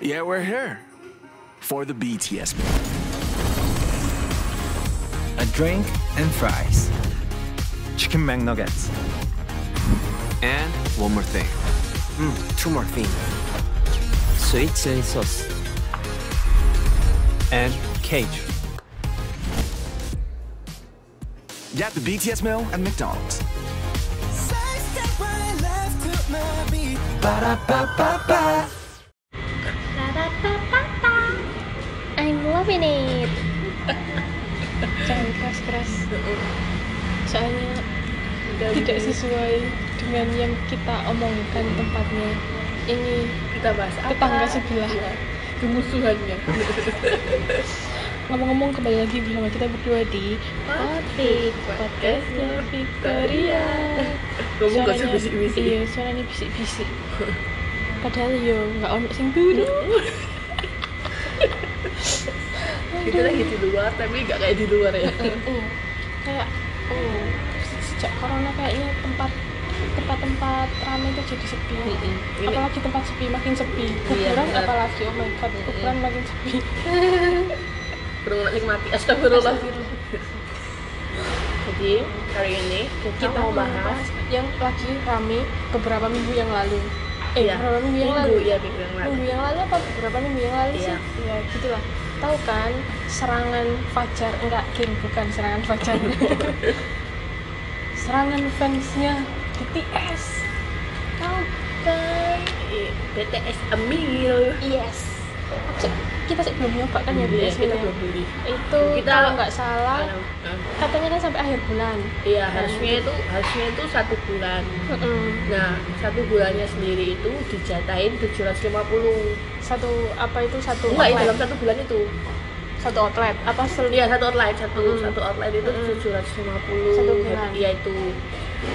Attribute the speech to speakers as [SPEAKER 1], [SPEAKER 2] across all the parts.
[SPEAKER 1] Yeah, we're here for the BTS meal.
[SPEAKER 2] a drink and fries, chicken McNuggets.
[SPEAKER 3] And one more thing.
[SPEAKER 4] Mm, Two more things. Sweet soy sauce.
[SPEAKER 3] And cage.
[SPEAKER 1] Get the BTS meal at McDonald's.
[SPEAKER 5] Ba-da-ba-ba-ba. I'm loving it.
[SPEAKER 6] Jangan keras-keras. Soalnya tidak
[SPEAKER 7] gitu.
[SPEAKER 6] sesuai dengan yang kita omongkan tempatnya. Ini
[SPEAKER 7] Kita bahas apa? Iya.
[SPEAKER 6] tetangga sebelah
[SPEAKER 7] Kemusuhannya.
[SPEAKER 6] ngomong-ngomong kembali lagi bersama kita berdua di
[SPEAKER 7] Outfit
[SPEAKER 6] podcastnya Victoria
[SPEAKER 7] Ngomong gak usah
[SPEAKER 6] Suaranya-
[SPEAKER 7] bisik-bisik.
[SPEAKER 6] iya suaranya bisik-bisik padahal yo nggak ono sing dulu
[SPEAKER 7] Kita lagi di luar tapi gak kayak di luar ya.
[SPEAKER 6] kayak oh sejak corona kayaknya tempat tempat-tempat ramai itu jadi sepi
[SPEAKER 7] Ini-
[SPEAKER 6] apalagi tempat sepi makin sepi
[SPEAKER 7] Iya,
[SPEAKER 6] kuburan
[SPEAKER 7] benar.
[SPEAKER 6] apalagi oh my god kuburan makin sepi
[SPEAKER 7] Kurang nikmati. Astagfirullah. Jadi hari ini kita, mau bahas
[SPEAKER 6] yang lagi rame beberapa minggu yang lalu eh
[SPEAKER 7] Iya.
[SPEAKER 6] beberapa minggu yang
[SPEAKER 7] minggu
[SPEAKER 6] lalu
[SPEAKER 7] ya minggu yang lalu.
[SPEAKER 6] minggu yang lalu apa beberapa minggu yang lalu
[SPEAKER 7] Iya.
[SPEAKER 6] sih ya gitulah tahu kan serangan fajar enggak game bukan serangan fajar serangan fansnya BTS tahu kan
[SPEAKER 7] Iya, BTS Amil.
[SPEAKER 6] yes Cek, kita sih belum nyoba kan
[SPEAKER 7] Iya,
[SPEAKER 6] ya BTS
[SPEAKER 7] kita
[SPEAKER 6] ini?
[SPEAKER 7] belum beli.
[SPEAKER 6] itu
[SPEAKER 7] Kita-
[SPEAKER 6] kalau nggak salah katanya kan sampai akhir bulan
[SPEAKER 7] Iya, harusnya itu harusnya itu satu bulan.
[SPEAKER 6] Mm-mm.
[SPEAKER 7] Nah, satu bulannya sendiri itu dijatain 750
[SPEAKER 6] satu apa itu satu
[SPEAKER 7] Enggak,
[SPEAKER 6] outlet
[SPEAKER 7] dalam satu bulan itu.
[SPEAKER 6] satu outlet apa sel
[SPEAKER 7] Iya, satu outlet, satu
[SPEAKER 6] Hmm.
[SPEAKER 7] satu outlet itu
[SPEAKER 6] Hmm.
[SPEAKER 7] 750.
[SPEAKER 6] Satu bulan.
[SPEAKER 7] Iya itu.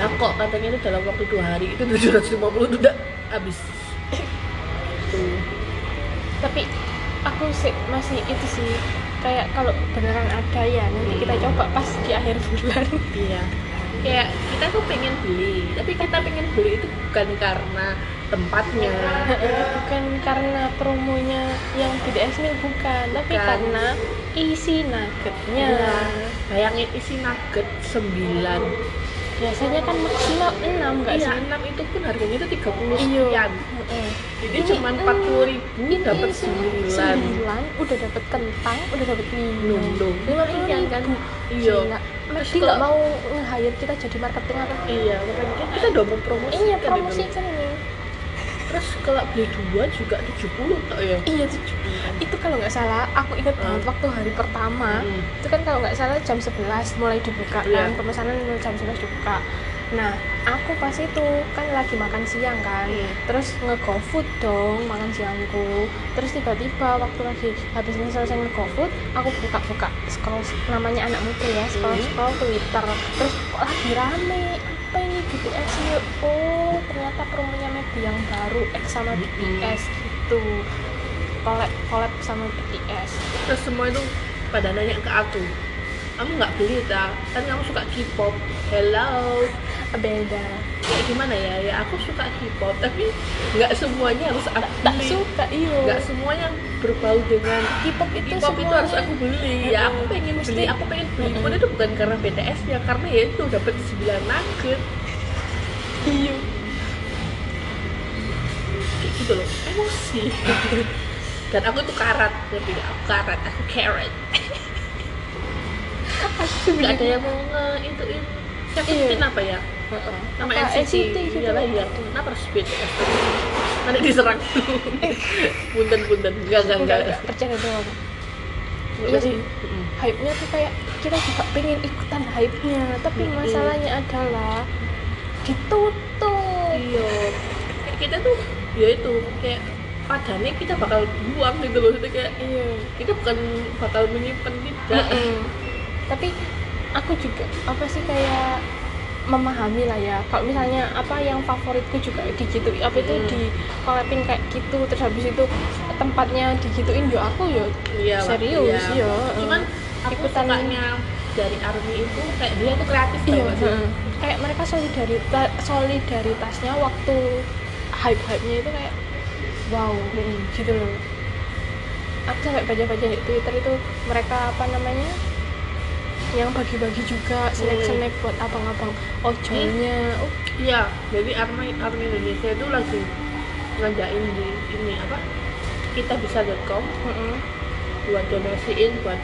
[SPEAKER 7] Nah, kok katanya itu dalam waktu dua hari itu 750 itu udah habis.
[SPEAKER 6] Iya.
[SPEAKER 7] Tuh.
[SPEAKER 6] tapi aku sih masih itu sih kayak kalau beneran ada ya nanti kita coba pas di akhir bulan
[SPEAKER 7] Iya. Kayak kita tuh pengen beli, tapi kita pengen beli itu bukan karena tempatnya.
[SPEAKER 6] bukan karena promonya yang BTS Meal bukan tapi
[SPEAKER 7] Bukan.
[SPEAKER 6] karena isi nuggetnya
[SPEAKER 7] Iya. Bayangin isi nugget 9.
[SPEAKER 6] biasanya kan maksimal 6 enggak
[SPEAKER 7] Iya,
[SPEAKER 6] sih
[SPEAKER 7] 6 itu pun harganya itu 30
[SPEAKER 6] Iya.
[SPEAKER 7] sekian.
[SPEAKER 6] Heeh.
[SPEAKER 7] Jadi
[SPEAKER 6] Ini,
[SPEAKER 7] cuma
[SPEAKER 6] mm,
[SPEAKER 7] 40 ribu
[SPEAKER 6] Ini
[SPEAKER 7] dapat Iya.
[SPEAKER 6] sembilan.
[SPEAKER 7] 9.
[SPEAKER 6] Sembilan, udah dapat kentang udah dapat minum
[SPEAKER 7] Nundung.
[SPEAKER 6] lima puluh
[SPEAKER 7] Iya kan?
[SPEAKER 6] ribu.
[SPEAKER 7] Iya.
[SPEAKER 6] Gila.
[SPEAKER 7] Terus
[SPEAKER 6] Dia nggak
[SPEAKER 7] kalau-
[SPEAKER 6] mau nge-hire kita jadi marketing apa
[SPEAKER 7] Iya, makanya kan kita udah mau promosi.
[SPEAKER 6] iya
[SPEAKER 7] kan
[SPEAKER 6] promosi
[SPEAKER 7] itu.
[SPEAKER 6] kan ini
[SPEAKER 7] Terus kalau beli dua juga 70 tak ya?
[SPEAKER 6] iya tujuh itu kalau nggak salah aku ingat
[SPEAKER 7] Hmm.
[SPEAKER 6] banget waktu hari pertama
[SPEAKER 7] Hmm.
[SPEAKER 6] itu kan kalau nggak salah jam 11 mulai dibuka
[SPEAKER 7] Iya.
[SPEAKER 6] kan pemesanan mulai jam 11 dibuka nah aku pas itu kan lagi makan siang kan terus nge food dong makan siangku terus tiba-tiba waktu lagi habis ini selesai nge food aku buka-buka scroll namanya anak muda ya scroll scroll twitter terus kok lagi rame apa ini BTS yuk oh ternyata promonya Maybe yang baru X sama BTS gitu collab collab sama BTS
[SPEAKER 7] Terus semua itu pada nanya ke aku. Kamu nggak beli tak? Kan kamu suka K-pop. Hello.
[SPEAKER 6] beda
[SPEAKER 7] Kayak gimana ya? Ya aku suka K-pop, tapi nggak semuanya harus aku
[SPEAKER 6] tak
[SPEAKER 7] beli.
[SPEAKER 6] suka iya. iyo
[SPEAKER 7] Nggak semua yang berbau dengan K-pop itu,
[SPEAKER 6] itu
[SPEAKER 7] K-pop itu
[SPEAKER 6] semuanya-
[SPEAKER 7] harus aku beli. Ya aku pengen
[SPEAKER 6] Mesti-
[SPEAKER 7] beli, aku pengen beli. Pun itu bukan karena BTS ya, karena ya itu dapat 9 nugget. Iya.
[SPEAKER 6] iyo
[SPEAKER 7] Kayak gitu loh. Emosi. Dan aku tuh karat, tapi aku karat, aku carrot. nggak ada yang mau nge itu siapa
[SPEAKER 6] Iya.
[SPEAKER 7] bikin apa ya nama
[SPEAKER 6] Apa,
[SPEAKER 7] NCT,
[SPEAKER 6] NCT gitu.
[SPEAKER 7] iya lah iya kenapa harus BTS nanti diserang dulu punten punten enggak enggak enggak
[SPEAKER 6] enggak percaya dong
[SPEAKER 7] Enggak
[SPEAKER 6] Iya
[SPEAKER 7] pasti.
[SPEAKER 6] sih.
[SPEAKER 7] Mm-mm.
[SPEAKER 6] hype-nya tuh kayak kita juga pengen ikutan hype-nya tapi
[SPEAKER 7] Mm-mm.
[SPEAKER 6] masalahnya adalah ditutup
[SPEAKER 7] iya Kayak kita tuh ya itu kayak padannya kita bakal buang gitu loh itu kayak
[SPEAKER 6] iya
[SPEAKER 7] kita bukan bakal menyimpan tidak
[SPEAKER 6] Mm-mm. tapi aku juga apa sih kayak memahami lah ya kalau misalnya apa yang favoritku juga digitu apa
[SPEAKER 7] Mm.
[SPEAKER 6] itu di kolapin kayak gitu terus habis itu tempatnya digituin yo aku ya yo
[SPEAKER 7] iya Pak.
[SPEAKER 6] serius
[SPEAKER 7] Iya.
[SPEAKER 6] yo
[SPEAKER 7] cuman aku
[SPEAKER 6] Ikutan-
[SPEAKER 7] sukanya dari ARMY itu kayak gitu. dia tuh kreatif
[SPEAKER 6] Iya,
[SPEAKER 7] banget sih
[SPEAKER 6] heeh. kayak mereka solidaritas solidaritasnya waktu hype hype nya itu kayak wow gitu loh aku sampai baca-baca di Twitter itu mereka apa namanya yang bagi-bagi juga snack-snack buat abang-abang ojolnya oh,
[SPEAKER 7] Iya, jadi Army Army Indonesia itu lagi ngajain di ini apa? Kita bisa.com
[SPEAKER 6] mm-mm.
[SPEAKER 7] buat donasiin buat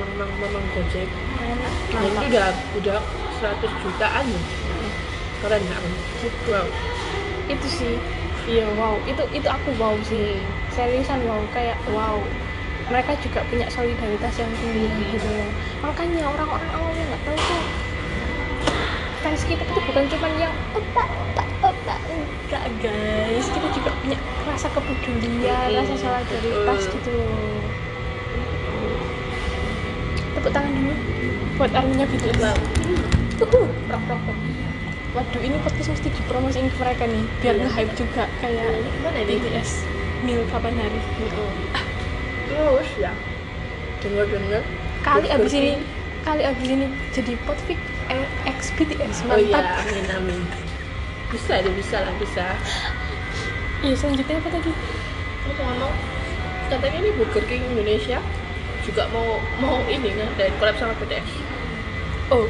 [SPEAKER 7] memang memang Gojek.
[SPEAKER 6] enak
[SPEAKER 7] Nah, itu
[SPEAKER 6] mantap
[SPEAKER 7] udah udah 100 jutaan ya. Keren nggak? Bang? Wow.
[SPEAKER 6] itu sih iya wow itu itu aku wow sih seriusan wow kayak wow mereka juga punya solidaritas yang tinggi gitu loh makanya orang-orang awam yang nggak tahu tuh fans kita itu bukan cuma yang otak otak otak enggak guys kita juga punya rasa kepedulian rasa solidaritas gitu loh tepuk tangan dulu buat gitu arminya BTS Uhuh, rock, rock, rock. Waduh, ini podcast mesti dipromosiin ke mereka nih, biar nge-hype juga kayak
[SPEAKER 7] Gimana ini?
[SPEAKER 6] BTS Mil kapan hari gitu.
[SPEAKER 7] Terus ya. Dengar dengar.
[SPEAKER 6] Kali abis ini, kali abis ini jadi potfik eh, ex BTS
[SPEAKER 7] Oh iya,
[SPEAKER 6] mantap.
[SPEAKER 7] amin amin. Bisa deh, bisa lah, bisa.
[SPEAKER 6] Iya, selanjutnya apa tadi?
[SPEAKER 7] Aku mau ngomong, katanya ini Burger King Indonesia juga mau mau ini ngadain collab sama BTS.
[SPEAKER 6] Oh,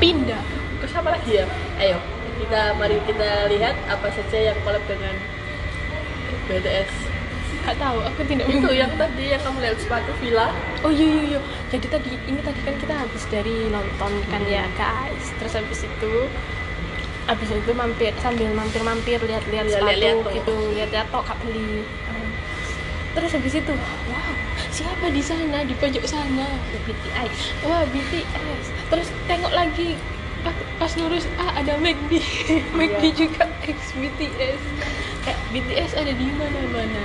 [SPEAKER 6] pindah.
[SPEAKER 7] Terus apa lagi ya? Ayo, kita mari kita lihat apa saja yang collab dengan BTS.
[SPEAKER 6] Gak tahu, aku tidak
[SPEAKER 7] Itu yang tadi yang kamu lihat sepatu villa.
[SPEAKER 6] Oh iya iya iya. Jadi tadi ini tadi kan kita habis dari nonton kan ya
[SPEAKER 7] Hmm.
[SPEAKER 6] guys. Terus habis itu habis itu mampir sambil mampir-mampir lihat-lihat
[SPEAKER 7] Iya,
[SPEAKER 6] sepatu
[SPEAKER 7] lihat-lihat Hmm. tok.
[SPEAKER 6] gitu, lihat-lihat tok gak beli. Terus habis itu, wow, siapa di sana di pojok sana? BTS. Wah, BTS. Terus tengok lagi pas, pas lurus ah ada McD. McD
[SPEAKER 7] Iya.
[SPEAKER 6] juga ex BTS. Eh, BTS ada di mana-mana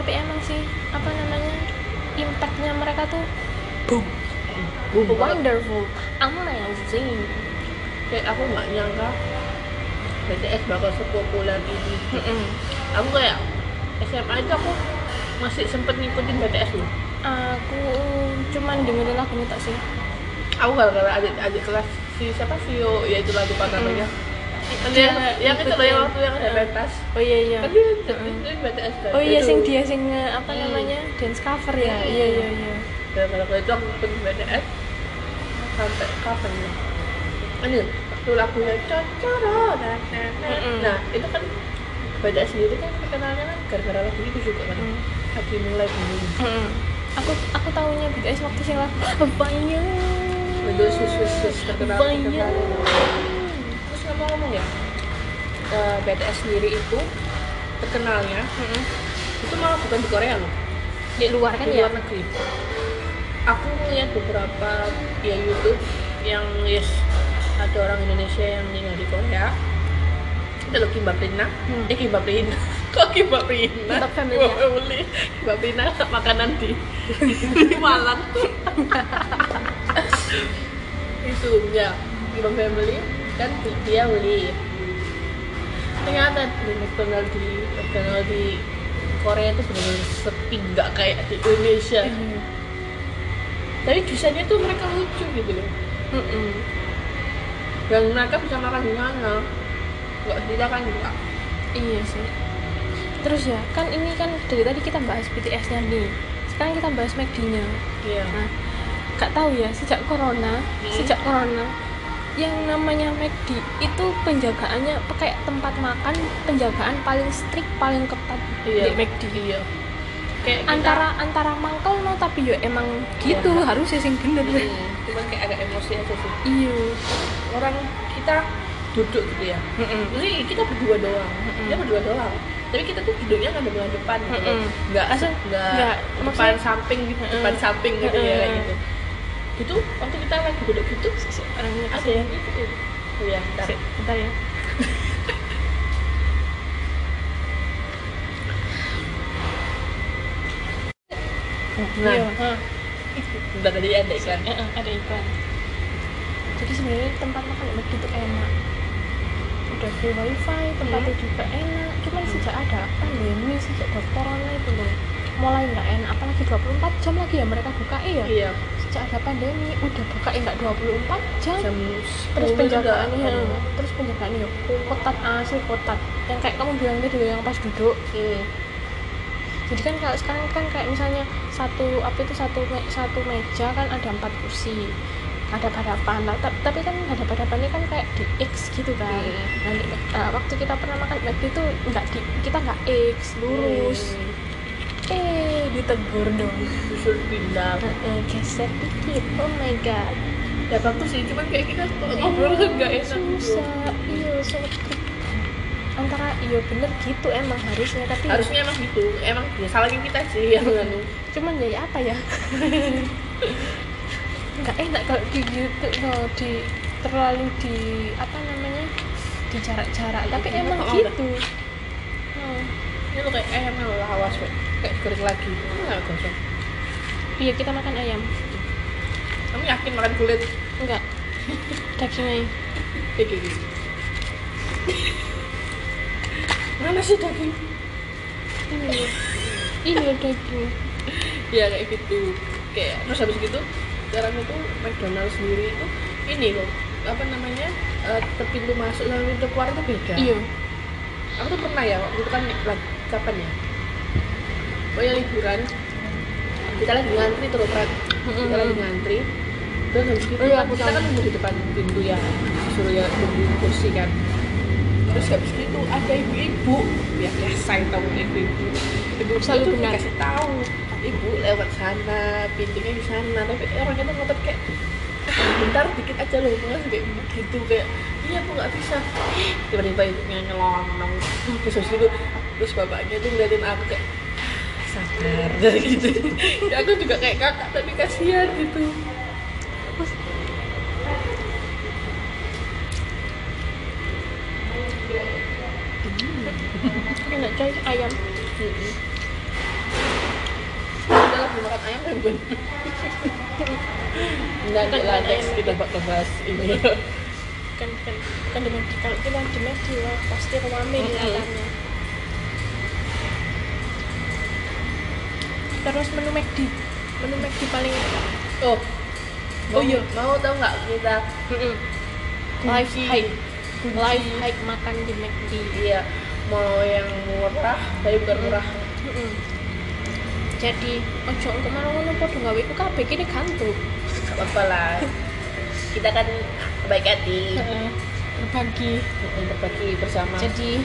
[SPEAKER 6] tapi emang sih apa namanya impactnya mereka tuh
[SPEAKER 7] Boom.
[SPEAKER 6] wonderful amazing
[SPEAKER 7] Kayak aku nggak nyangka BTS bakal sepopuler ini.
[SPEAKER 6] Mm-mm.
[SPEAKER 7] Aku kayak SMA itu aku masih sempet ngikutin BTS loh.
[SPEAKER 6] aku cuman dengerin lagunya tak sih
[SPEAKER 7] Aku gara-gara adik-adik kelas si siapa Vio, ya itu lagu apa namanya. Kan
[SPEAKER 6] Dia
[SPEAKER 7] Yang, yang itu loh yang waktu yang ada pentas.
[SPEAKER 6] oh iya iya
[SPEAKER 7] Kan dia ngikutin BTS kan.
[SPEAKER 6] oh iya
[SPEAKER 7] Itu.
[SPEAKER 6] sing dia sing eh, apa
[SPEAKER 7] Hmm.
[SPEAKER 6] namanya dance cover ya iya iya iya
[SPEAKER 7] gara-gara waktu itu aku ngikutin BTS eh? sampai kapan ya? Ini waktu lagunya cocoro nah, nah, nah.
[SPEAKER 6] Mm-mm.
[SPEAKER 7] nah itu kan BTS sendiri kan terkenalnya kan gara-gara lagu itu juga kan
[SPEAKER 6] Mm.
[SPEAKER 7] lagi mulai booming
[SPEAKER 6] Mm-mm. aku aku tahunya BTS waktu sing lagu banyak
[SPEAKER 7] itu sus sus sus terkenal
[SPEAKER 6] banyak
[SPEAKER 7] terkenal. terus ngomong-ngomong ya eh, BTS sendiri itu terkenalnya
[SPEAKER 6] Mm-mm.
[SPEAKER 7] itu malah bukan di Korea loh
[SPEAKER 6] di luar kan
[SPEAKER 7] di
[SPEAKER 6] ya
[SPEAKER 7] luar negeri aku ngeliat beberapa ya YouTube yang yes ada orang Indonesia yang tinggal di Korea ada loh Kimbab Rina
[SPEAKER 6] Hmm.
[SPEAKER 7] eh Kimbab Rina kok Kimbab Rina
[SPEAKER 6] Kimbab family
[SPEAKER 7] Kimbab
[SPEAKER 6] ya?
[SPEAKER 7] family Kimbab Rina ah, makanan di di Malang itu ya Kimbab family kan dia beli ternyata di McDonald di McDonald di Korea itu benar-benar sepi nggak kayak di Indonesia
[SPEAKER 6] Iya.
[SPEAKER 7] tapi desainnya tuh mereka lucu gitu loh
[SPEAKER 6] Mm-mm.
[SPEAKER 7] dan mereka bisa makan di mana nggak kita kan nggak
[SPEAKER 6] Iya sih. Terus ya, kan ini kan dari tadi kita bahas BTS-nya nih. Sekarang kita bahas McD-nya.
[SPEAKER 7] iya
[SPEAKER 6] Nah, gak tahu ya, sejak corona, sejak corona yang namanya McD itu penjagaannya kayak tempat makan penjagaan paling strict paling ketat
[SPEAKER 7] iya
[SPEAKER 6] di McD
[SPEAKER 7] iya kayak kita-
[SPEAKER 6] antara antara mangkel no tapi yo emang gitu harusnya sing bener
[SPEAKER 7] Hmm, cuman kayak agak emosi aja sih
[SPEAKER 6] iya
[SPEAKER 7] orang kita duduk gitu ya ini kita berdua doang kita berdua doang tapi kita tuh duduknya kan dengan depan gitu
[SPEAKER 6] Mm-mm.
[SPEAKER 7] nggak
[SPEAKER 6] Asal-
[SPEAKER 7] nggak
[SPEAKER 6] nggak,
[SPEAKER 7] depan
[SPEAKER 6] maksudnya-
[SPEAKER 7] samping gitu
[SPEAKER 6] Mm-mm.
[SPEAKER 7] depan samping gitu ya kayak
[SPEAKER 6] Mm-mm.
[SPEAKER 7] gitu itu waktu kita lagi duduk gitu
[SPEAKER 6] Nah, orangnya
[SPEAKER 7] ada yang itu ya ntar.
[SPEAKER 6] Sik, bentar ya
[SPEAKER 7] nah
[SPEAKER 6] Iya, ha.
[SPEAKER 7] bentar tadi ada kan? iklan
[SPEAKER 6] Eh, eh, ada iklan jadi sebenarnya tempat makan yang begitu enak udah free wifi tempatnya juga enak cuman sejak ada pandemi sejak ada corona itu loh mulai nggak enak apalagi 24 jam lagi ya mereka buka iya
[SPEAKER 7] iya
[SPEAKER 6] sejak ada pandemi udah buka enggak 24 jam
[SPEAKER 7] jam
[SPEAKER 6] terus
[SPEAKER 7] 10
[SPEAKER 6] penjagaannya
[SPEAKER 7] juga ya. Iya. akan-
[SPEAKER 6] terus ya, penjagaannya kotat asli kotat yang kayak kamu bilang tadi loh, yang pas duduk
[SPEAKER 7] Hmm.
[SPEAKER 6] jadi kan kalau sekarang kan kayak misalnya satu apa itu satu me- satu meja kan ada empat kursi hadap hadapan tapi kan hadap hadapannya kan kayak di X gitu kan
[SPEAKER 7] Hmm.
[SPEAKER 6] nanti eh, waktu kita pernah makan McD itu nggak di kita nggak X lurus
[SPEAKER 7] Hmm.
[SPEAKER 6] eh ditegur dong
[SPEAKER 7] Disuruh pindah
[SPEAKER 6] Eh, eh, geser dikit oh my god
[SPEAKER 7] ya bagus sih cuman kayak kita ngobrol kan gak enak gitu.
[SPEAKER 6] susah iya sulit antara iya bener gitu emang harusnya tapi ya
[SPEAKER 7] harusnya emang gitu emang ya salahnya kita sih yang anu
[SPEAKER 6] cuman ya apa ya nggak enak kalau di gitu kalau di terlalu di apa namanya di jarak-jarak tapi
[SPEAKER 7] Iya,
[SPEAKER 6] emang
[SPEAKER 7] kalau
[SPEAKER 6] gitu Hmm.
[SPEAKER 7] ini lo kayak ayam lah awas weh kayak goreng lagi Ini nggak gosong
[SPEAKER 6] iya kita makan ayam
[SPEAKER 7] kamu yakin makan kulit
[SPEAKER 6] enggak dagingnya
[SPEAKER 7] kayak gini mana sih daging
[SPEAKER 6] ini ini loh Iya, daging
[SPEAKER 7] ya kayak gitu kayak terus habis gitu sekarang itu McDonald sendiri itu ini loh apa namanya eh, te- pintu masuk sama pintu keluar itu beda
[SPEAKER 6] iya
[SPEAKER 7] aku tuh pernah ya waktu itu kan lagi kapan ya pokoknya liburan kita lagi ngantri terus Prat. kita lagi ngantri terus habis gitu
[SPEAKER 6] Oh iya,
[SPEAKER 7] kan
[SPEAKER 6] aku
[SPEAKER 7] kita
[SPEAKER 6] tahu.
[SPEAKER 7] kan nunggu di depan pintu ya suruh ya nunggu kursi kan terus habis gitu ada ibu-ibu ya biasa itu ibu-ibu ibu
[SPEAKER 6] Selalu
[SPEAKER 7] itu
[SPEAKER 6] benar.
[SPEAKER 7] dikasih tahu ibu lewat sana pintunya di sana tapi orangnya tuh ngotot kayak "Ah, bentar dikit aja loh mas kayak gitu kayak iya aku nggak bisa Ih, tiba-tiba ibunya nyelonong terus habis itu terus bapaknya tuh ngeliatin aku kayak "Ah, sabar jadi gitu ya aku juga kayak kakak tapi kasihan gitu
[SPEAKER 6] enak coy ayam
[SPEAKER 7] kita lagi makan ayam kan bun nanti
[SPEAKER 6] Bukan,
[SPEAKER 7] lah
[SPEAKER 6] bukan
[SPEAKER 7] next
[SPEAKER 6] ayam.
[SPEAKER 7] Kan kita bakal bahas ini
[SPEAKER 6] kan kan kan dengan kalau kita di McD wah pasti rame
[SPEAKER 7] Mm-mm.
[SPEAKER 6] kelihatannya terus menu McD menu McD paling
[SPEAKER 7] oh
[SPEAKER 6] Oh iya.
[SPEAKER 7] mau tau nggak kita
[SPEAKER 6] live
[SPEAKER 7] Kunci.
[SPEAKER 6] hike live hike makan di McD
[SPEAKER 7] iya mau yang murah tapi bukan murah
[SPEAKER 6] Mm-mm. jadi ojo engko marang ngono padha gawe ku kabeh kene gantung
[SPEAKER 7] nggak apa-apa lah kita kan baik hati
[SPEAKER 6] berbagi
[SPEAKER 7] untuk berbagi bersama
[SPEAKER 6] Ah. jadi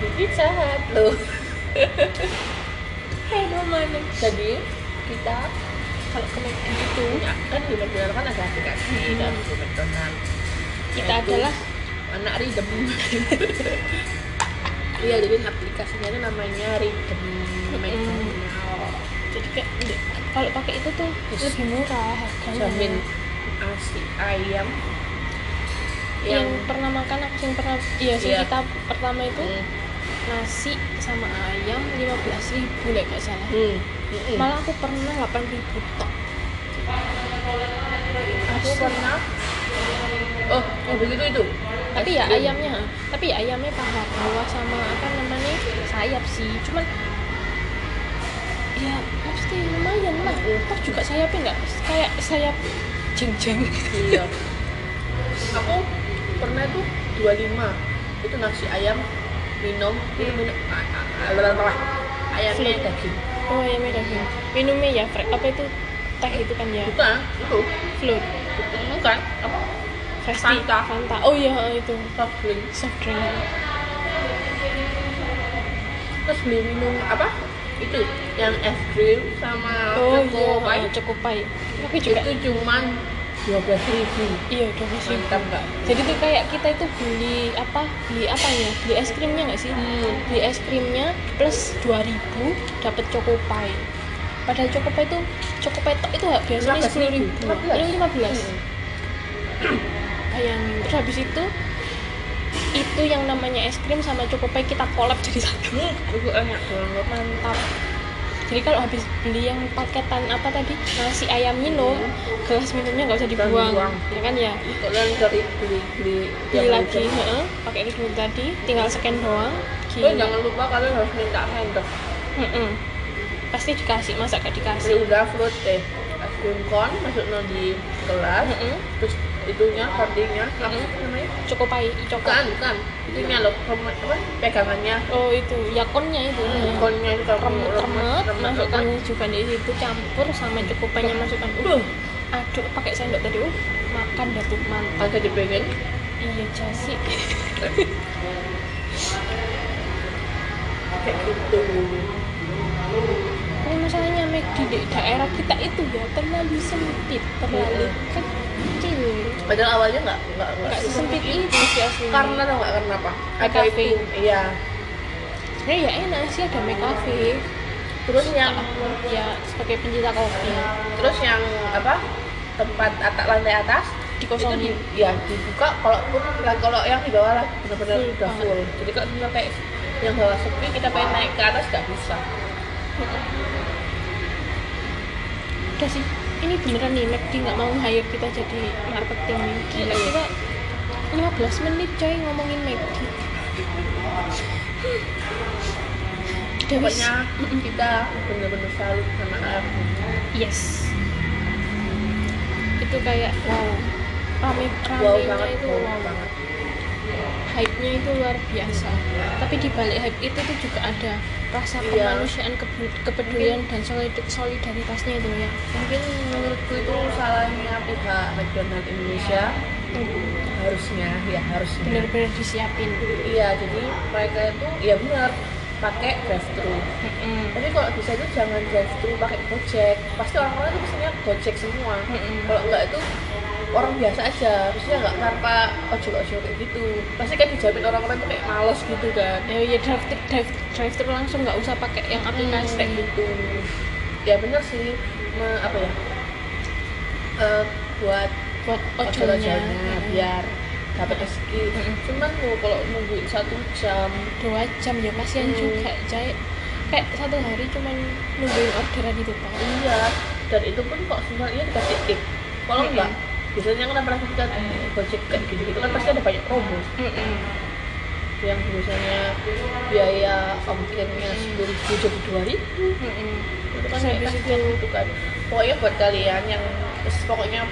[SPEAKER 7] jadi sehat loh
[SPEAKER 6] hey mana
[SPEAKER 7] jadi kita
[SPEAKER 6] kalau ke McD itu
[SPEAKER 7] punya kan di McDonald kan ada aplikasi dan di Nah, McDonald
[SPEAKER 6] kita
[SPEAKER 7] Yaitu
[SPEAKER 6] adalah
[SPEAKER 7] anak Ridem iya jadi aplikasinya itu namanya Ridem McDonald
[SPEAKER 6] jadi kayak di- kalau pakai itu tuh
[SPEAKER 7] Terus
[SPEAKER 6] lebih murah harganya
[SPEAKER 7] jamin asi ayam
[SPEAKER 6] yang,
[SPEAKER 7] yang
[SPEAKER 6] pernah makan aku yang pernah iya sih
[SPEAKER 7] Iya.
[SPEAKER 6] kita pertama itu
[SPEAKER 7] Hmm,
[SPEAKER 6] nasi sama ayam 15.000 ribu nggak salah
[SPEAKER 7] hmm, hmm.
[SPEAKER 6] malah aku pernah 8.000 ribu tok
[SPEAKER 7] aku pernah oh oh begitu itu
[SPEAKER 6] tapi ya
[SPEAKER 7] Es krim.
[SPEAKER 6] ayamnya ha. tapi ya ayamnya paha bawah sama apa namanya sayap sih cuman ya pasti lumayan lah toh juga sayapnya nggak kayak sayap jeng jeng
[SPEAKER 7] iya aku pernah tuh 25 itu nasi ayam minum itu minum a- a- a- lelah ayamnya
[SPEAKER 6] Sulit.
[SPEAKER 7] daging
[SPEAKER 6] oh ayamnya daging minumnya ya fre- apa itu teh itu kan ya
[SPEAKER 7] bukan itu
[SPEAKER 6] float
[SPEAKER 7] bukan kan, apa
[SPEAKER 6] Fresh
[SPEAKER 7] Fanta.
[SPEAKER 6] tea, Fanta. Oh iya itu
[SPEAKER 7] soft drink
[SPEAKER 6] soft drink.
[SPEAKER 7] terus beli minum apa itu yang es krim sama
[SPEAKER 6] Oh
[SPEAKER 7] choco
[SPEAKER 6] iya
[SPEAKER 7] pie.
[SPEAKER 6] cukup pahit. Tapi juga
[SPEAKER 7] itu cuman 12.000 ribu
[SPEAKER 6] iya dua
[SPEAKER 7] mantap nggak
[SPEAKER 6] Jadi tuh kayak kita itu beli apa? Beli apanya? Beli es krimnya nggak sih? Beli es krimnya plus 2000 dapat choco pie. Padahal choco pie itu choco pie tok itu biasanya
[SPEAKER 7] 15.000.
[SPEAKER 6] 10.000. ribu.
[SPEAKER 7] 15.
[SPEAKER 6] Ini 15. Iya, Bayangin. Terus habis itu itu yang namanya es krim sama choco pie kita collab jadi satu.
[SPEAKER 7] hmm, itu enak banget
[SPEAKER 6] mantap jadi kalau habis beli yang paketan apa tadi nasi ayam minum gelas minumnya Iya. nggak usah dibuang
[SPEAKER 7] dibuang.
[SPEAKER 6] ya kan ya
[SPEAKER 7] itu lain dari beli beli
[SPEAKER 6] Iya, beli
[SPEAKER 7] yang
[SPEAKER 6] lagi
[SPEAKER 7] itu.
[SPEAKER 6] heeh, pakai itu duit tadi tinggal scan doang
[SPEAKER 7] Terus
[SPEAKER 6] gila
[SPEAKER 7] jangan lupa kalian harus minta hand
[SPEAKER 6] Mm-mm. pasti dikasih masa gak
[SPEAKER 7] beli
[SPEAKER 6] dikasih
[SPEAKER 7] udah float deh es krim corn masuk di gelas
[SPEAKER 6] Mm-mm.
[SPEAKER 7] terus itunya coatingnya apa sih namanya
[SPEAKER 6] Cukup pai,
[SPEAKER 7] bukan
[SPEAKER 6] coklat.
[SPEAKER 7] bukan itunya loh rem- apa pegangannya
[SPEAKER 6] Oh itu, ya konnya itu.
[SPEAKER 7] konnya itu kalau
[SPEAKER 6] remet remet
[SPEAKER 7] remet
[SPEAKER 6] masukkan juga di situ campur sama cukupannya masukkan udah aduk pakai sendok tadi uh makan dah tuh mantap
[SPEAKER 7] agak dipengen
[SPEAKER 6] iya jasi
[SPEAKER 7] kayak gitu
[SPEAKER 6] ini masalahnya McD di daerah kita itu ya terlalu sempit terlalu
[SPEAKER 7] Iya.
[SPEAKER 6] kecil
[SPEAKER 7] padahal awalnya nggak nggak nggak
[SPEAKER 6] nggak sesempit itu sih aslinya
[SPEAKER 7] Iya. karena tau nggak karena apa ada
[SPEAKER 6] Cafe.
[SPEAKER 7] itu iya
[SPEAKER 6] sebenarnya ya enak sih ada McCafe
[SPEAKER 7] terus yang
[SPEAKER 6] ya sebagai pencinta kopi
[SPEAKER 7] terus yang apa tempat atas lantai atas itu
[SPEAKER 6] dikosongin
[SPEAKER 7] di, ya dibuka kalau pun kalau yang di bawah lah benar-benar
[SPEAKER 6] Full
[SPEAKER 7] udah full jadi kalau kita kayak yang bawah sepi kita pengen naik ke atas nggak bisa
[SPEAKER 6] udah sih ini beneran nih McD nggak mau hire kita jadi marketing nih
[SPEAKER 7] Iya.
[SPEAKER 6] gila kita 15 menit coy ngomongin McD Udah, wis.
[SPEAKER 7] pokoknya kita benar-benar salut sama alam
[SPEAKER 6] yes itu kayak wow rame
[SPEAKER 7] wow
[SPEAKER 6] ramenya
[SPEAKER 7] banget
[SPEAKER 6] itu
[SPEAKER 7] wow
[SPEAKER 6] wow
[SPEAKER 7] banget
[SPEAKER 6] hype-nya itu luar biasa tapi di balik hype itu tuh juga ada rasa
[SPEAKER 7] Iya.
[SPEAKER 6] kemanusiaan kepe- kepedulian dan solid- solidaritasnya itu
[SPEAKER 7] Iya.
[SPEAKER 6] ya
[SPEAKER 7] mungkin menurutku itu salahnya pihak McDonald Indonesia harusnya ya harusnya
[SPEAKER 6] bener-bener disiapin
[SPEAKER 7] iya jadi mereka itu ya benar pakai drive thru
[SPEAKER 6] Mm-mm.
[SPEAKER 7] tapi kalau bisa itu jangan drive thru pakai gojek pasti orang-orang itu biasanya gojek semua
[SPEAKER 6] Mm-mm.
[SPEAKER 7] kalau enggak itu orang biasa aja maksudnya nggak tanpa ojo ojo kayak gitu pasti kan dijamin orang-orang itu kayak males gitu kan
[SPEAKER 6] ya ya drive thru drive drive thru langsung nggak usah pakai yang aplikasi
[SPEAKER 7] kayak gitu ya benar sih me- apa ya Eh, buat
[SPEAKER 6] buat
[SPEAKER 7] ojolnya iya.
[SPEAKER 6] ojolnya
[SPEAKER 7] biar dapat rezeki cuman tuh kalau nungguin satu jam
[SPEAKER 6] dua jam ya kasihan
[SPEAKER 7] Hmm.
[SPEAKER 6] juga jahit kayak satu hari cuman nungguin orderan itu pak
[SPEAKER 7] iya dan itu pun kok sebenarnya dikasih tip kalau
[SPEAKER 6] Mm-mm.
[SPEAKER 7] enggak biasanya kan pernah kita gojek kayak gitu gitu kan pasti ada banyak promo yang biasanya biaya ongkirnya sepuluh ribu jadi dua ribu itu kan
[SPEAKER 6] Terus
[SPEAKER 7] kayak
[SPEAKER 6] habis
[SPEAKER 7] kasihan gitu kan pokoknya buat kalian yang pokoknya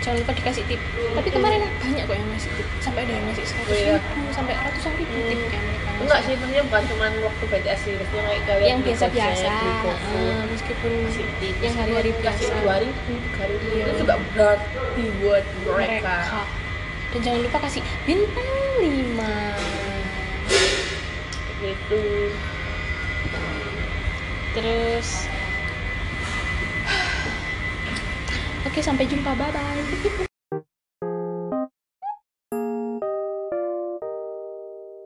[SPEAKER 6] jangan lupa dikasih tip tapi kemarin banyak kok yang ngasih tip sampai ada yang ngasih seratus
[SPEAKER 7] Iya. Hmm.
[SPEAKER 6] ribu sampai ratusan ribu tip kan mereka ngasih.
[SPEAKER 7] enggak sih sebenarnya bukan cuma waktu BTS sih maksudnya kayak kalian
[SPEAKER 6] yang
[SPEAKER 7] beli
[SPEAKER 6] biasa-biasa
[SPEAKER 7] Gojek, beli GoFood.
[SPEAKER 6] ah, meskipun
[SPEAKER 7] Positif.
[SPEAKER 6] yang hari-hari biasa
[SPEAKER 7] kasih dua ribu tiga ribu
[SPEAKER 6] Iya.
[SPEAKER 7] itu juga berarti buat mereka,
[SPEAKER 6] mereka dan jangan lupa kasih bintang lima
[SPEAKER 7] gitu
[SPEAKER 6] Terus Oke, sampai jumpa. Bye bye.